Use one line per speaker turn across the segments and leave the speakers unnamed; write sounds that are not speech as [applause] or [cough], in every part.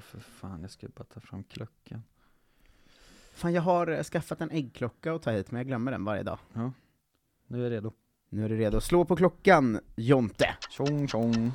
för fan, jag ska bara ta fram klockan.
Fan, jag har eh, skaffat en äggklocka att ta hit, men jag glömmer den varje dag.
Nu är jag redo.
Nu är du redo. Slå på klockan, Jonte!
Tjong tjong.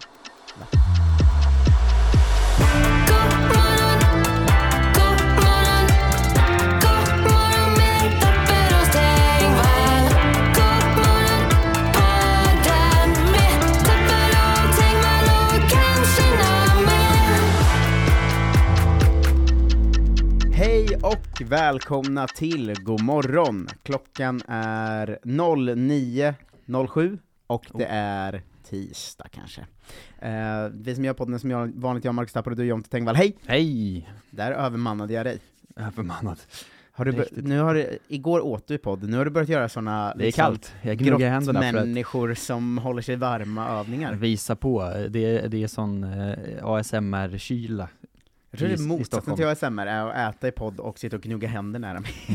Hej och välkomna till God morgon. Klockan är 09.07 och det
Oh.
är tisdag kanske. Eh, vi som gör podden som jag, vanligt, jag, Marcus Tapper och du Jonte Tengvall, hej!
Hej!
Där övermannade jag dig.
Övermannad.
Har du bör-
Riktigt.
nu har du, igår åt du i podden, nu har du börjat göra sådana
Det är kallt. Jag gnuggar händerna för att
grottmänniskor som håller sig varma övningar.
visa på. Det är, det är sån eh, ASMR-kyla.
Jag tror det
i-
är
i
motsatsen
Stockholm.
till ASMR, är att äta i podd och sitta och gnugga händer nära mig. [laughs]
[laughs]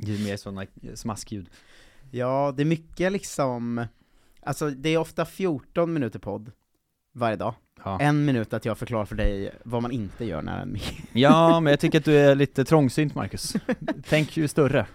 det är mer såna smaskljud.
Ja, det är mycket liksom, alltså det är ofta 14 minuter podd varje dag.
Ja.
En minut att jag förklarar för dig vad man inte gör nära en mick.
ja, men jag tycker att du är lite trångsynt Marcus. Tänk ju större,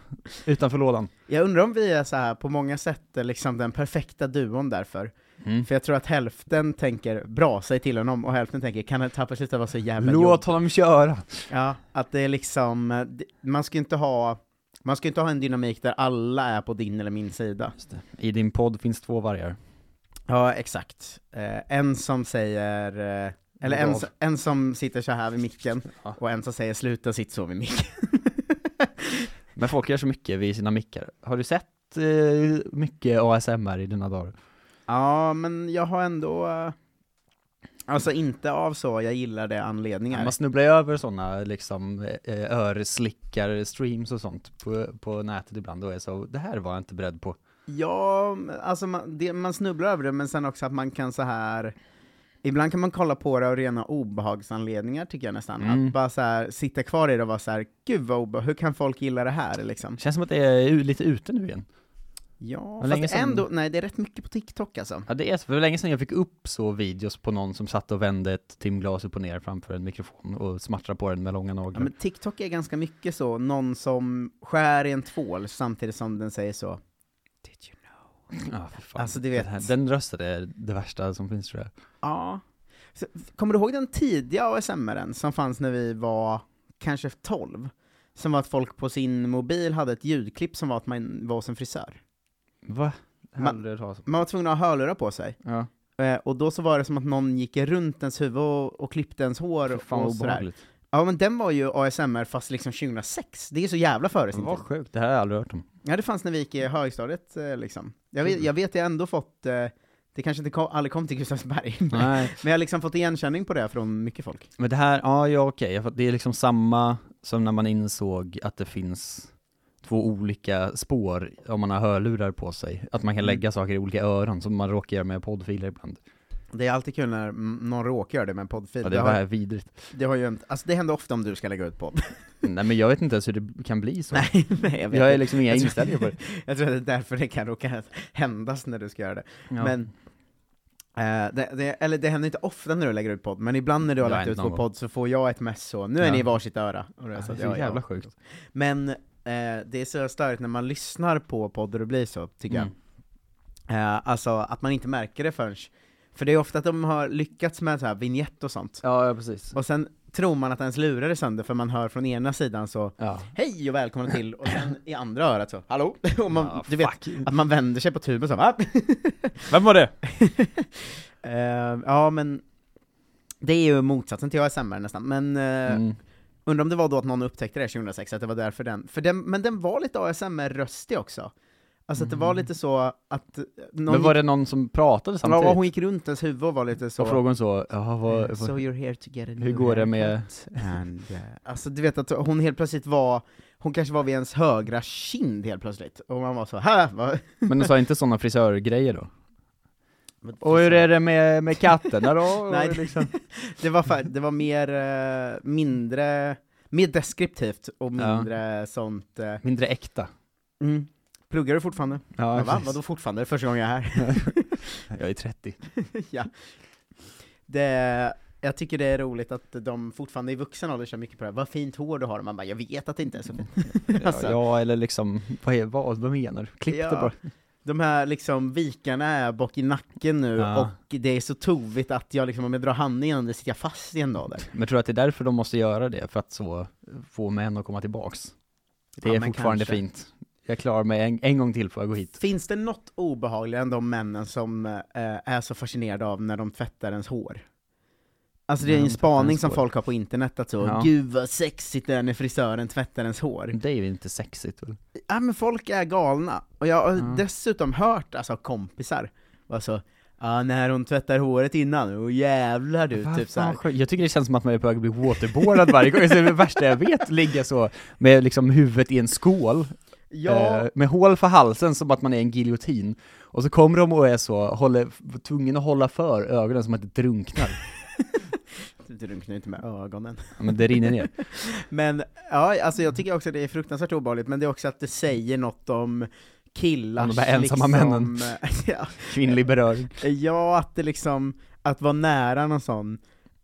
utanför lådan.
[laughs] Jag undrar om vi är så här på många sätt eh, liksom den perfekta duon därför.
Mm.
För jag tror att hälften tänker bra, säg till honom, och hälften tänker kan han tappa sluta vara så jävla jobbig?
Låt honom köra!
Ja, att det är liksom, eh, det- man ska ju inte ha, man ska ju inte ha en dynamik där alla är på din eller min sida.
Just det. I din podd finns två vargar.
Ja, exakt. Eh, en som säger, eh, eller
Lägg
en,
av.
s- en som sitter så här vid micken,
[laughs] Ja.
och en som säger sluta sitt så vid micken.
Men folk gör så mycket vid sina mickar. Har du sett eh, mycket ASMR i dina dagar?
Ja, men jag har ändå, eh, alltså inte av så jag gillar det anledningar.
Man snubblar ju över sådana liksom eh, örslickar-streams och sånt på, på nätet ibland och är så, det här var jag inte beredd på.
Ja, men alltså man, det, man snubblar över det, men sen också att man kan så här Ibland kan man kolla på det av rena obehagsanledningar tycker jag nästan.
Mm.
Att bara så här, sitta kvar i det och vara så här, gud vad obe- hur kan folk gilla det här liksom?
Känns som att det är u- lite ute nu igen.
Ja,
Hur länge
fast
sedan-
ändå, nej det är rätt mycket på TikTok alltså.
Ja det är så, för det var länge sedan jag fick upp så videos på någon som satt och vände ett timglas upp och ner framför en mikrofon och smattrade på den med långa
Ja,
naglar.
men TikTok är ganska mycket så, någon som skär i en tvål samtidigt som den säger så. Did you know?
Ja, för fan.
Alltså, du vet-
Den, här, den rösten är det värsta som finns tror jag.
Ja. Så, kommer du ihåg den tidiga ASMRen som fanns när vi var kanske 12? Som var att folk på sin mobil hade ett ljudklipp som var att man var hos en frisör.
Va? Det har
Man-
aldrig hört talas om.
Man var tvungen att ha hörlurar på sig,
Ja,
eh, och då så var det som att någon gick runt ens huvud och, och klippte ens hår
för fan
och
vad
sådär.
obehagligt.
Ja men den var ju ASMR fast liksom 2006, det är så jävla före sin
Vad
tid.
sjukt, det här har jag aldrig hört om.
Ja det fanns när vi gick i högstadiet eh, liksom. Jag vet, jag vet jag ändå fått, eh, det kanske inte kom, aldrig kom till Gustavsberg, men
[laughs] Nej.
jag har liksom fått igenkänning på det från mycket folk.
Men det här, ja, ja okej, Jag fatt- det är liksom samma som när man insåg att det finns två olika spår om man har hörlurar på sig. Att man kan
Mm.
lägga saker i olika öron som man råkar göra med poddfiler ibland.
Det är alltid kul när mm, någon råkar göra det med en poddfil.
Ja,
det,
det var
har,
här vidrigt.
det har ju hänt, alltså det händer ofta om du ska lägga ut podd.
Nej men jag vet inte ens hur det kan bli så.
[laughs] nej, nej, jag vet
jag är
inte.
liksom inga
Jag tror-
inställningar på det.
[laughs] Jag tror att det är därför det kan råka händas när du ska göra det.
Ja.
Men, eh, det, det, eller det händer inte ofta när du lägger ut podd, men ibland när du har
Det har
lagt ut
hänt någon
vår podd så får jag ett mess så, nu är
Ja.
ni i varsitt öra. Och det är
Ja, det är
så att,
så
Alltså, ja, ja.
jävla sjukt.
Men eh, det är så störigt när man lyssnar på poddar och blir så, tycker
Mm.
jag. Eh, alltså att man inte märker det förrän, för det är ofta att de har lyckats med så här vignett och sånt.
Ja, ja precis.
Och sen tror man att ens lurar är sönder för man hör från ena sidan så
Ja.
Hej och välkomna till, och sen i andra örat så Hallå! [laughs] Och man,
Ja,
du vet, att man vänder sig på tuben så Va?
Vem var det?
Eh, Ja men Det är ju motsatsen till ASMR nästan, men eh,
Mm.
undrar om det var då att någon upptäckte det 2006, att det var därför den, för den, men den var lite ASMR-röstig också Alltså att det var lite så att någon
Mm. Men var det
gick,
någon som pratade
ja,
samtidigt?
och hon gick runt ens huvud och var lite så "Eh,
Och frågan så, ja, vad, vad,
So you're here to get a
hur går det med...
And, eh, alltså du vet att hon helt plötsligt var, hon kanske var vid ens högra kind helt plötsligt, och man var så här vad?
Men du sa inte sådana frisörgrejer då? Och hur är det med, med katterna [laughs] då?
Nej,
Och
det-
liksom.
[laughs] det var, fa- det var mer, eh, mindre, mer deskriptivt och mindre sånt, eh,
Mindre äkta.
mm. Pluggar du fortfarande?
Ja,
Ja, va?
precis.
Vadå fortfarande?
[laughs]
Det är Första gången jag är här.
Jag är 30.
ja. Det, jag tycker det är roligt att de fortfarande i vuxen ålder kör mycket på det här, vad fint hår du har, och man bara, jag vet att det inte är så fint.
[laughs] Ja,
Alltså.
ja eller liksom, vad, är, vad, vad menar du? Klipp
Ja.
det bara.
De här liksom vikarna är bak i nacken nu,
Ja.
och det är så tovigt att jag liksom, om jag drar handen genom det sitter jag fast i en dag där.
Men tror du att det är därför de måste göra det? För att så få män att komma tillbaks? Det
Ja,
är
men
fortfarande
kanske.
fint. Jag klarar mig en, en gång till får jag gå hit.
Finns det något obehagligare än de männen som eh, är så fascinerade av när de fettar ens hår? Alltså det är
När
ju
de
en
tvättar
spaning
ens
som
hår.
folk har på internet att så,
Ja.
gud vad sexigt det är när frisören tvättar ens hår.
Det är ju inte sexigt väl?
Ja men folk är galna, och jag har
Ja.
dessutom hört alltså kompisar, vara så Ja, när hon tvättar håret innan, åh jävlar du,
Vad
typ så
fan
här.
skö- Jag tycker det känns som att man är på väg att bli waterboardad varje gång. Det är det värsta jag vet, ligga så med liksom huvudet i en skål,
Ja,
eh, med hål för halsen som att man är en giljotin. Och så kommer de och är så, håller, tvungen att hålla för ögonen som att det drunknar.
du drunknar ju inte med ögonen.
Ja, Men det rinner ner.
Men ja, alltså jag tycker också det är fruktansvärt obehagligt, men det är också att det säger något om killars liksom,
Om de här ensamma männen.
[laughs] ja,
Kvinnlig beröring.
ja, att det liksom, att vara nära någon sån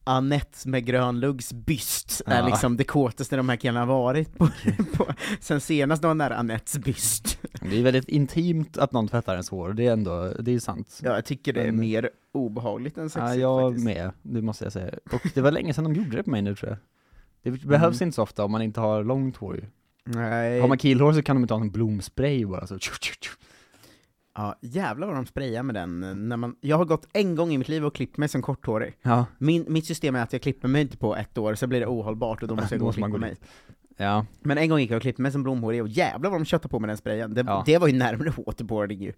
Anette med grön luggs byst är
Ja.
liksom det kåtaste de här killarna har varit på, [laughs] på. Sen senast de var nära Anettes byst.
Det är väldigt intimt att någon tvättar ens hår, det är ändå, det är sant.
Ja, jag tycker det är
Men-
mer obehagligt än
Ja,
sexigt
jag
faktiskt.
med, det måste jag säga. Och det var länge sedan de gjorde det på mig nu tror jag. Det behövs inte så ofta om man inte har långt hår ju.
Nej.
Har man killhår så kan de inte ha en blomspray bara så. tju, tju, tju.
Ja, jävlar vad de sprayar med den. eh, När man... Jag har gått en gång i mitt liv och klippt mig som korthårig.
Ja,
Min, mitt system är att jag klipper mig inte på ett år, så blir det ohållbart och
[laughs]
då måste jag
Då
gå och
måste man
klippa
gå
mig.
ja.
Men en gång gick jag och klippte mig som blomhårig, och jävlar vad de köttade på med den sprayen. Det,
Ja.
det var ju närmare [laughs] waterboarding ju.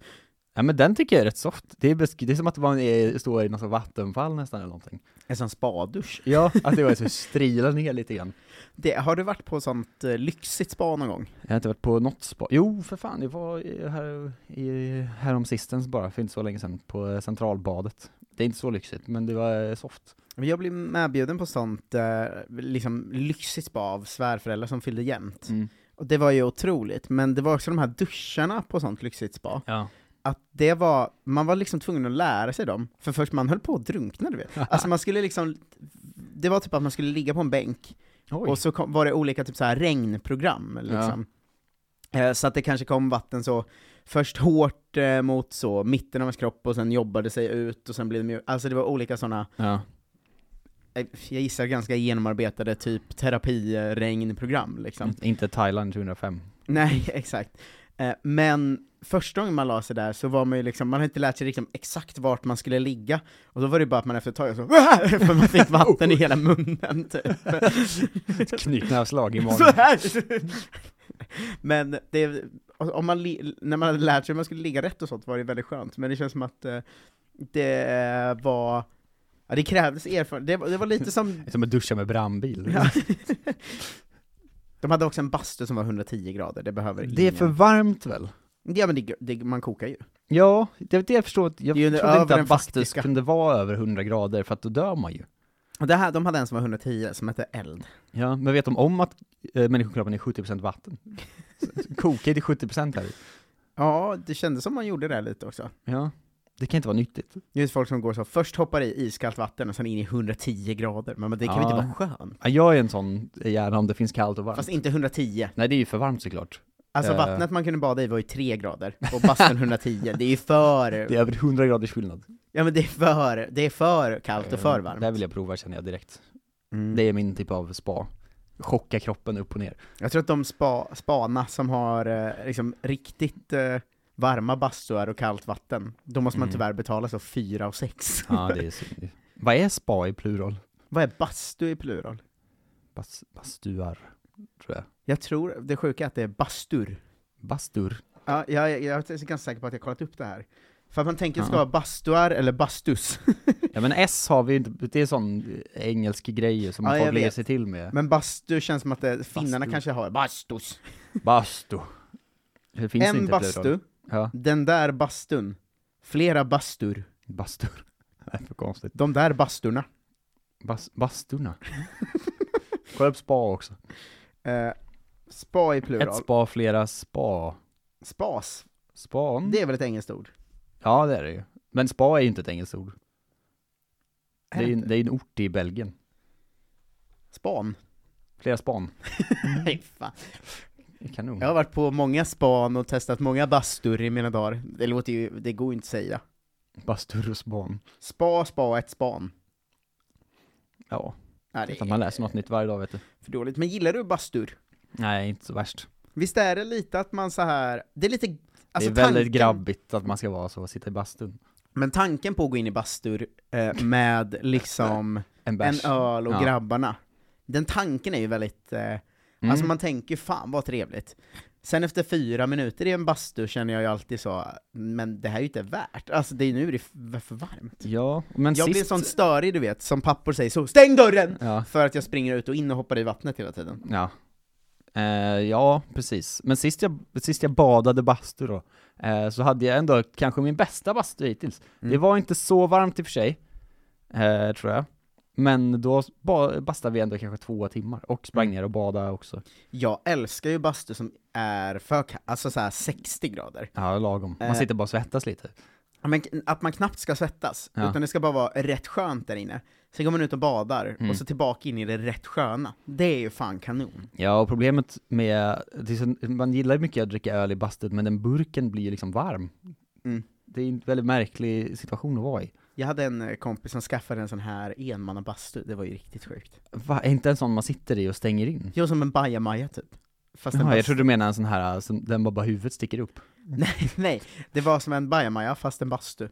Ja men den tycker jag är rätt soft. Det är, besk- det är som att man är, står i något sånt vattenfall nästan eller någonting.
En sån spadusch.
Ja, [laughs] att det var så strilar ner lite grann.
Det, har du varit på sånt eh, lyxigt spa någon gång?
Jag har inte varit på något spa. Jo, för fan, jag var i- här, i, här om sistens bara, för inte så länge sedan, på eh, Centralbadet. Det är inte så lyxigt, men det var eh, soft.
Men Jag blev medbjuden på sånt eh, liksom lyxigt spa av svärföräldrar som fyllde jämnt.
Mm.
Och det var ju otroligt, men det var också de här duscharna på sånt lyxigt spa.
Ja.
att det var, man var liksom tvungen att lära sig dem, för först man höll på att drunkna du vet. Alltså man skulle liksom, det var typ att man skulle ligga på en bänk,
Oj.
och så kom, var det olika typ så här regnprogram liksom. Eh, Så att det kanske kom vatten så, först hårt eh, mot så mitten av ens kropp, och sen jobbade sig ut, och sen blev det mjukt. Alltså det var olika sådana,
ja.
eh, jag gissar ganska genomarbetade typ terapiregnprogram liksom.
Inte Thailand 2005.
Nej, [laughs] exakt. Eh, Men första gången man la sig där så var man ju liksom, man hade inte lärt sig liksom exakt vart man skulle ligga, och då var det bara att man efter ett tag så [laughs] för man fick vatten i hela munnen typ.
[laughs] Ett [laughs] knytnävsslag i
så
morgon.
här! Men det, om man, li- när man hade lärt sig hur man skulle ligga rätt och sånt var det väldigt skönt, men det känns som att eh, det var, ja det krävdes erfarenhet, det var, det var lite som
Som att duscha med brandbil.
Ja. De hade också en bastu som var 110 grader, det behöver
Det är för varmt väl?
Ja men det, det, man kokar ju.
Ja, det är det jag förstår. att- Jag
Det är ju
trodde
över
inte
den
att bastus
faktiska.
kunde vara över 100 grader, för att då dör man ju.
Och det här, de hade en som var 110 som hette eld.
Ja, men vet de om att eh, människokroppen är 70% [laughs] vatten? Så- Kokar till 70% här.
Ja, det kändes som man gjorde det lite också.
Ja. Det kan inte vara nyttigt.
Just folk som går så, först hoppar i iskallt vatten och sen in i 110 grader. Men det kan ju
Ja.
inte vara skönt.
Ja, Jag är en sån gärna om det finns kallt och varmt.
Fast inte 110.
Nej, det är ju för varmt såklart.
Alltså
Eh.
vattnet man kunde bada i var ju 3 grader, och bastun 110. [laughs] Det är ju för,
Det är över 100 graders skillnad.
ja men det är för, det är för kallt och för varmt.
Det här vill jag prova känner jag direkt.
Mm.
Det är min typ av spa. Chocka kroppen upp och ner.
Jag tror att de spa, spana som har eh, liksom riktigt eh, varma bastuar och kallt vatten, då måste man
Mm.
tyvärr betala så 4 och 6.
Ja, det är synd. Vad är spa i plural?
Vad är bastu i plural?
Bas, bastuar, tror jag.
Jag tror, det sjuka är att det är bastur.
Bastur.
Ja, jag, jag, jag är ganska säker på att jag kollat upp det här. För att man tänker att det
Ja.
ska vara bastuar eller [laughs] bastus.
Ja men S har vi ju inte, det är sån eh, engelsk grej ju som
Ja, jag
folk lägger
vet.
sig till med.
Men bastu känns som att det, finnarna
Bastu.
kanske har bastus.
Bastu. Det finns
en
inte i
bastu,
plural. Ja,
den där bastun, flera bastur,
bastur. [laughs] Det är för konstigt.
de där basturna.
Bas, basturna. [laughs] Kolla upp spa också.
Eh, spa i
Ett
plural.
spa, flera spa. Mm.
Spas,
Span?
Mm. det är väl ett engelskt ord?
Ja det är det ju. Men spa är ju inte ett engelskt ord. Det är, en- det är en ort i Belgien.
[laughs] Span?
Flera span.
Nej fan.
Kanon.
Jag har varit på många span och testat många bastur i mina dagar. Det låter ju, det går ju inte att säga.
Bastur och span.
Spa, spa, ett span.
Ja,
Ja,
vet
det
att man
är
läser något nytt varje dag vet du.
för dåligt. Men gillar du bastur?
Nej, inte så värst.
Visst är det lite att man så här det är lite, alltså
det är väldigt
tanken-
grabbigt att man ska vara så, och sitta i bastun.
Men tanken på att gå in i bastur eh, med liksom
En [laughs] bärs.
en öl och
Ja.
grabbarna, den tanken är ju väldigt, eh,
Mm.
alltså man tänker fan vad trevligt. Sen efter fyra minuter i en bastu känner jag ju alltid så, men det här är ju inte värt, alltså det är nu det är f- för varmt.
Ja, men
Jag
sist...
blir sån störig du vet, som pappor säger så, stäng dörren!
Ja,
För att jag springer ut och in och hoppar i vattnet hela tiden.
ja. Eh, ja, precis. Men sist jag, sist jag badade bastu då, eh, så hade jag ändå kanske min bästa bastu hittills.
Mm.
Det var inte så varmt i och för sig, eh, tror jag. Men då ba- bastade vi ändå kanske två timmar, och sprang
Mm.
ner och badade också.
Jag älskar ju bastu som är för ka- alltså så här 60 grader.
Ja, lagom. Man
Eh.
sitter bara och svettas lite.
Ja, Men k- att man knappt ska svettas,
Ja.
utan det ska bara vara rätt skönt där inne. Sen går man ut och badar,
Mm.
och så tillbaka in i det rätt sköna. Det är ju fan kanon.
Ja, och problemet med, det är så, man gillar ju mycket att dricka öl i bastun, men den burken blir ju liksom varm.
Mm.
Det är en väldigt märklig situation att vara i.
Jag hade en eh, kompis som skaffade en sån här enmannabastu, det var ju riktigt sjukt.
Va, är inte en sån man sitter i och stänger in?
Jag som en bajamaja typ. Fast en
Jaha, jag
bastu.
trodde du menade en sån här, alltså, den bara, bara huvudet sticker upp.
nej, [laughs] nej, det var som en bajamaja fast en bastu.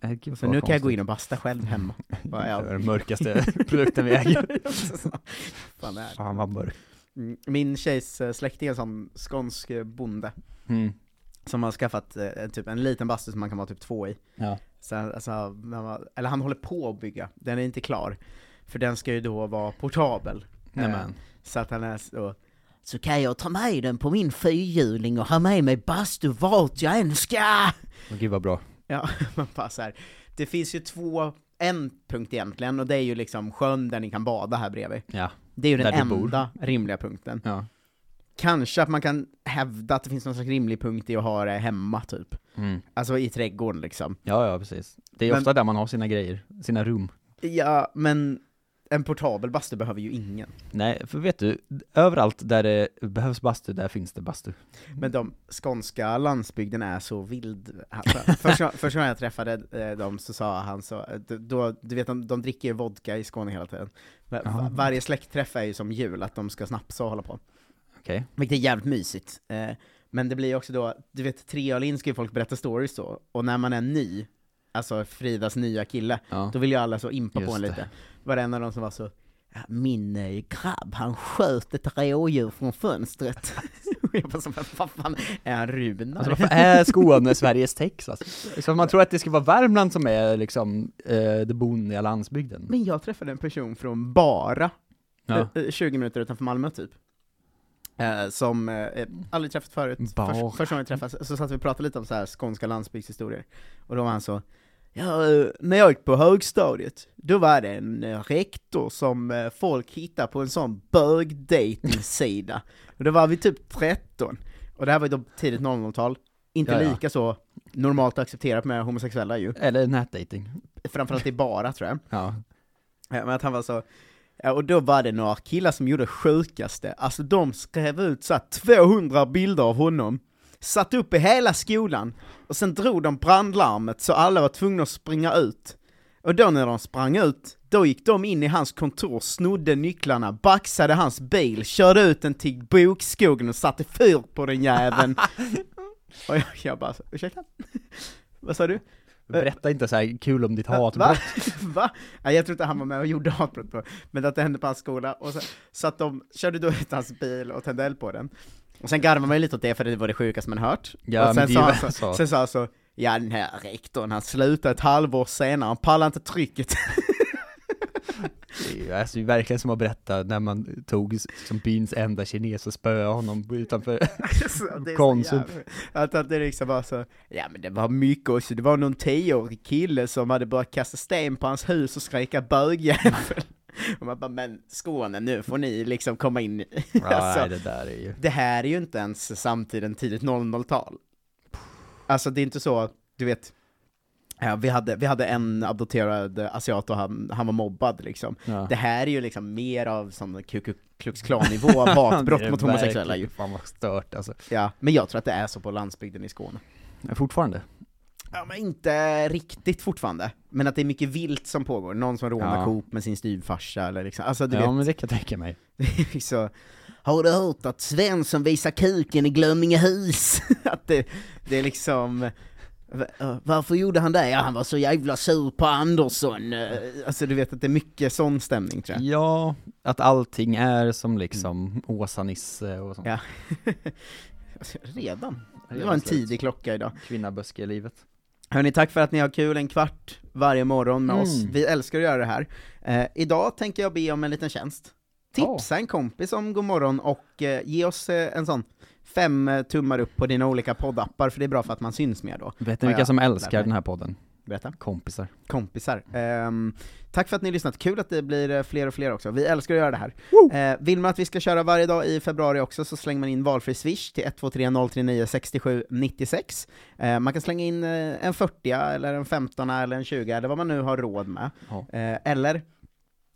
Äh, gud,
Så nu kan jag gå in och
[laughs]
basta själv hemma. Bara, ja.
Det är den mörkaste [laughs] produkten vi äger.
[laughs] fan, det är.
Fan vad mörk.
Mm, Min tjejs eh, släkting är en sån skånsk eh, bonde,
Mm.
som har skaffat eh, typ en liten bastu som man kan vara typ två i.
Ja.
Så, han- alltså, han var- eller han håller på att bygga, den är inte klar. För den ska ju då vara portabel.
Nej,
Eh,
men.
Så att han är så... Så kan jag ta med den på min fyrhjuling och ha med mig bastu vart jag än ska!
Åh, gud vad bra.
Ja, [laughs] man bara så här. Det finns ju två, en punkt egentligen, och det är ju liksom sjön där ni kan bada här bredvid.
Ja.
Det är ju den
Där du bor.
enda rimliga punkten.
ja.
Kanske att man kan hävda att det finns någon slags rimlig punkt i att ha det hemma typ.
Mm.
Alltså i trädgården liksom.
Ja, ja, precis. Det är
Men-
ofta där man har sina grejer, sina rum.
Ja, men en portabel bastu behöver ju ingen.
Nej, för vet du, överallt där det behövs bastu, där finns det bastu.
Men de skånska landsbygden är så vild. Alltså, [laughs] första, första gången jag träffade eh, dem så sa han så, eh, d- då, du vet de, de dricker ju vodka i Skåne hela tiden. Va-
Ja.
Varje släktträff är ju som jul, att de ska snapsa och hålla på.
Okej.
Vilket är jävligt mysigt. Eh, men det blir ju också då, du vet tre öl in ska ju folk berätta stories då, och när man är ny, alltså Fridas nya kille,
Ja.
då vill ju alla så impa på
Just
en
det. Alltså,
lite. Varenda någon som var så, "Ja, min eh, grabb han sköt ett rådjur från fönstret. [laughs] Och jag bara så, "Men vad fan är han Runar?
Alltså varför
[laughs]
är Skåne Sveriges Texas? Liksom, man tror att det ska vara Värmland som är liksom eh, det boniga landsbygden.
men jag träffade en person från Bara,
Ja.
eh, eh, 20 minuter utanför Malmö typ. Eh, som eh, eh, aldrig träffat förut,
Bara.
Förs, första gången vi träffades, så satt vi och pratade lite om så här skånska landsbygdshistorier. Och då var han så, ja, eh, när jag gick på högstadiet, då var det en eh, rektor som eh, folk hittade på en sån bögdejtingsida. och då var vi typ 13. Och det här var ju då tidigt 00-tal, inte
Ja, ja.
lika så normalt accepterat med homosexuella ju,
Eller nätdating.
framförallt i Bara tror jag.
Ja.
Ja, men att han var så, ja, och då var det några killar som gjorde det sjukaste, alltså de skrev ut så här 200 bilder av honom, satt upp i hela skolan, och sen drog de brandlarmet så alla var tvungna att springa ut. Och då när de sprang ut, då gick de in i hans kontor, snodde nycklarna, baxade hans bil, körde ut den till bokskogen och satte fyr på den jäveln. och jag, jag bara, så, ursäkta? Vad sa du?
Berätta inte så här kul om ditt
Va?
hatbrott.
[laughs] Va? Nej, jag tror inte han var med och gjorde hatbrott, på, men att det hände på hans skola. Och så, så att de körde då ut hans bil och tände eld på den. Och sen garvade man ju lite åt det för det var det sjukaste man hört.
Ja,
och
men
sen
det är
sa,
ju
han
vad
så,
jag sa.
sen sa han så, ja den här rektorn han slutade ett halvår senare, han pallade inte trycket. [laughs]
Det är ju- Alltså, det är verkligen som att berätta när man tog s- som byns enda kines och spöade honom [laughs] utanför.
Så det är så
Konstigt.
jävla- Att, att det liksom var så, ja men det var mycket också, det var någon tioårig kille som hade börjat kasta sten på hans hus och skrika bögjävel. [laughs] Och man bara, men Skåne nu får ni liksom komma in i.
Ja,
Alltså.
nej, det där är ju...
det här är ju inte ens samtiden tidigt 00-tal. Alltså det är inte så, du vet, Ja, vi, hade, vi hade en adopterad asiat och han, han var mobbad liksom.
Ja.
Det här är ju liksom mer av sån Ku Ku
[laughs]
Klux Klan-nivå, hatbrott
Det är
mot homosexuella ju.
verkligen- Fan vad stört alltså.
Ja, men jag tror att det är så på landsbygden i Skåne.
Men Fortfarande.
Ja, men inte riktigt fortfarande. Men att det är mycket vilt som pågår, någon som rånar
Ja.
Coop med sin styvfarsa eller liksom, alltså du
ja
vet,
men det kan jag tänka mig.
Det är [laughs] så, har du hört att Svensson visar kuken i Glömmingehus? [laughs] att det, det är liksom, "Va- varför gjorde han det? Ja, han var så jävla sur på Andersson. Eh, Alltså du vet att det är mycket sån stämning tror jag.
Ja, att allting är som liksom Åsa-Nisse och sånt.
Ja. [laughs] Alltså, Redan? Det var en tidig klocka idag.
Kvinnaböske-livet.
Hörni, tack för att ni har kul en kvart varje morgon med oss.
Mm.
Vi älskar att göra det här. Eh, idag tänker jag be om en liten tjänst. Tipsa en kompis om god morgon och eh, ge oss eh, en sån fem eh, tummar upp på dina olika poddappar, för det är bra för att man syns mer då.
Vet ni
Ja,
vilka
ja.
som älskar
Nej.
den här podden?
Berätta.
Kompisar.
Kompisar. Ehm, tack för att ni har lyssnat, kul att det blir eh, fler och fler också. Vi älskar att göra det här. Eh, vill man att vi ska köra varje dag i februari också så slänger man in valfri swish till 123 039 67 96. Eh, man kan slänga in eh, en 40 eller en 15 eller en 20 eller vad man nu har råd med.
Ja.
Eh, eller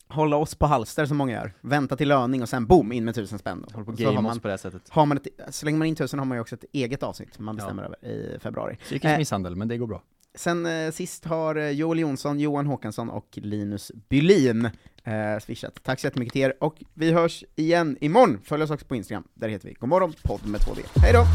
hålla oss på halster som många gör. Vänta till löning och sen boom, in med tusen spänn. då.
Håller på
Så
att
har
game
man-
oss på det här sättet.
har man ett, slänger man in tusen har man ju också ett eget avsnitt man
Ja.
bestämmer över i februari. Eh.
Psykisk misshandel, men det går bra.
Sen eh, sist har eh, Joel Jonsson, Johan Håkansson och Linus Bylin eh, swishat. Tack så jättemycket till er, och vi hörs igen imorgon! Följ oss också på Instagram, där heter vi Godmorgon podd med 2D. Hej då!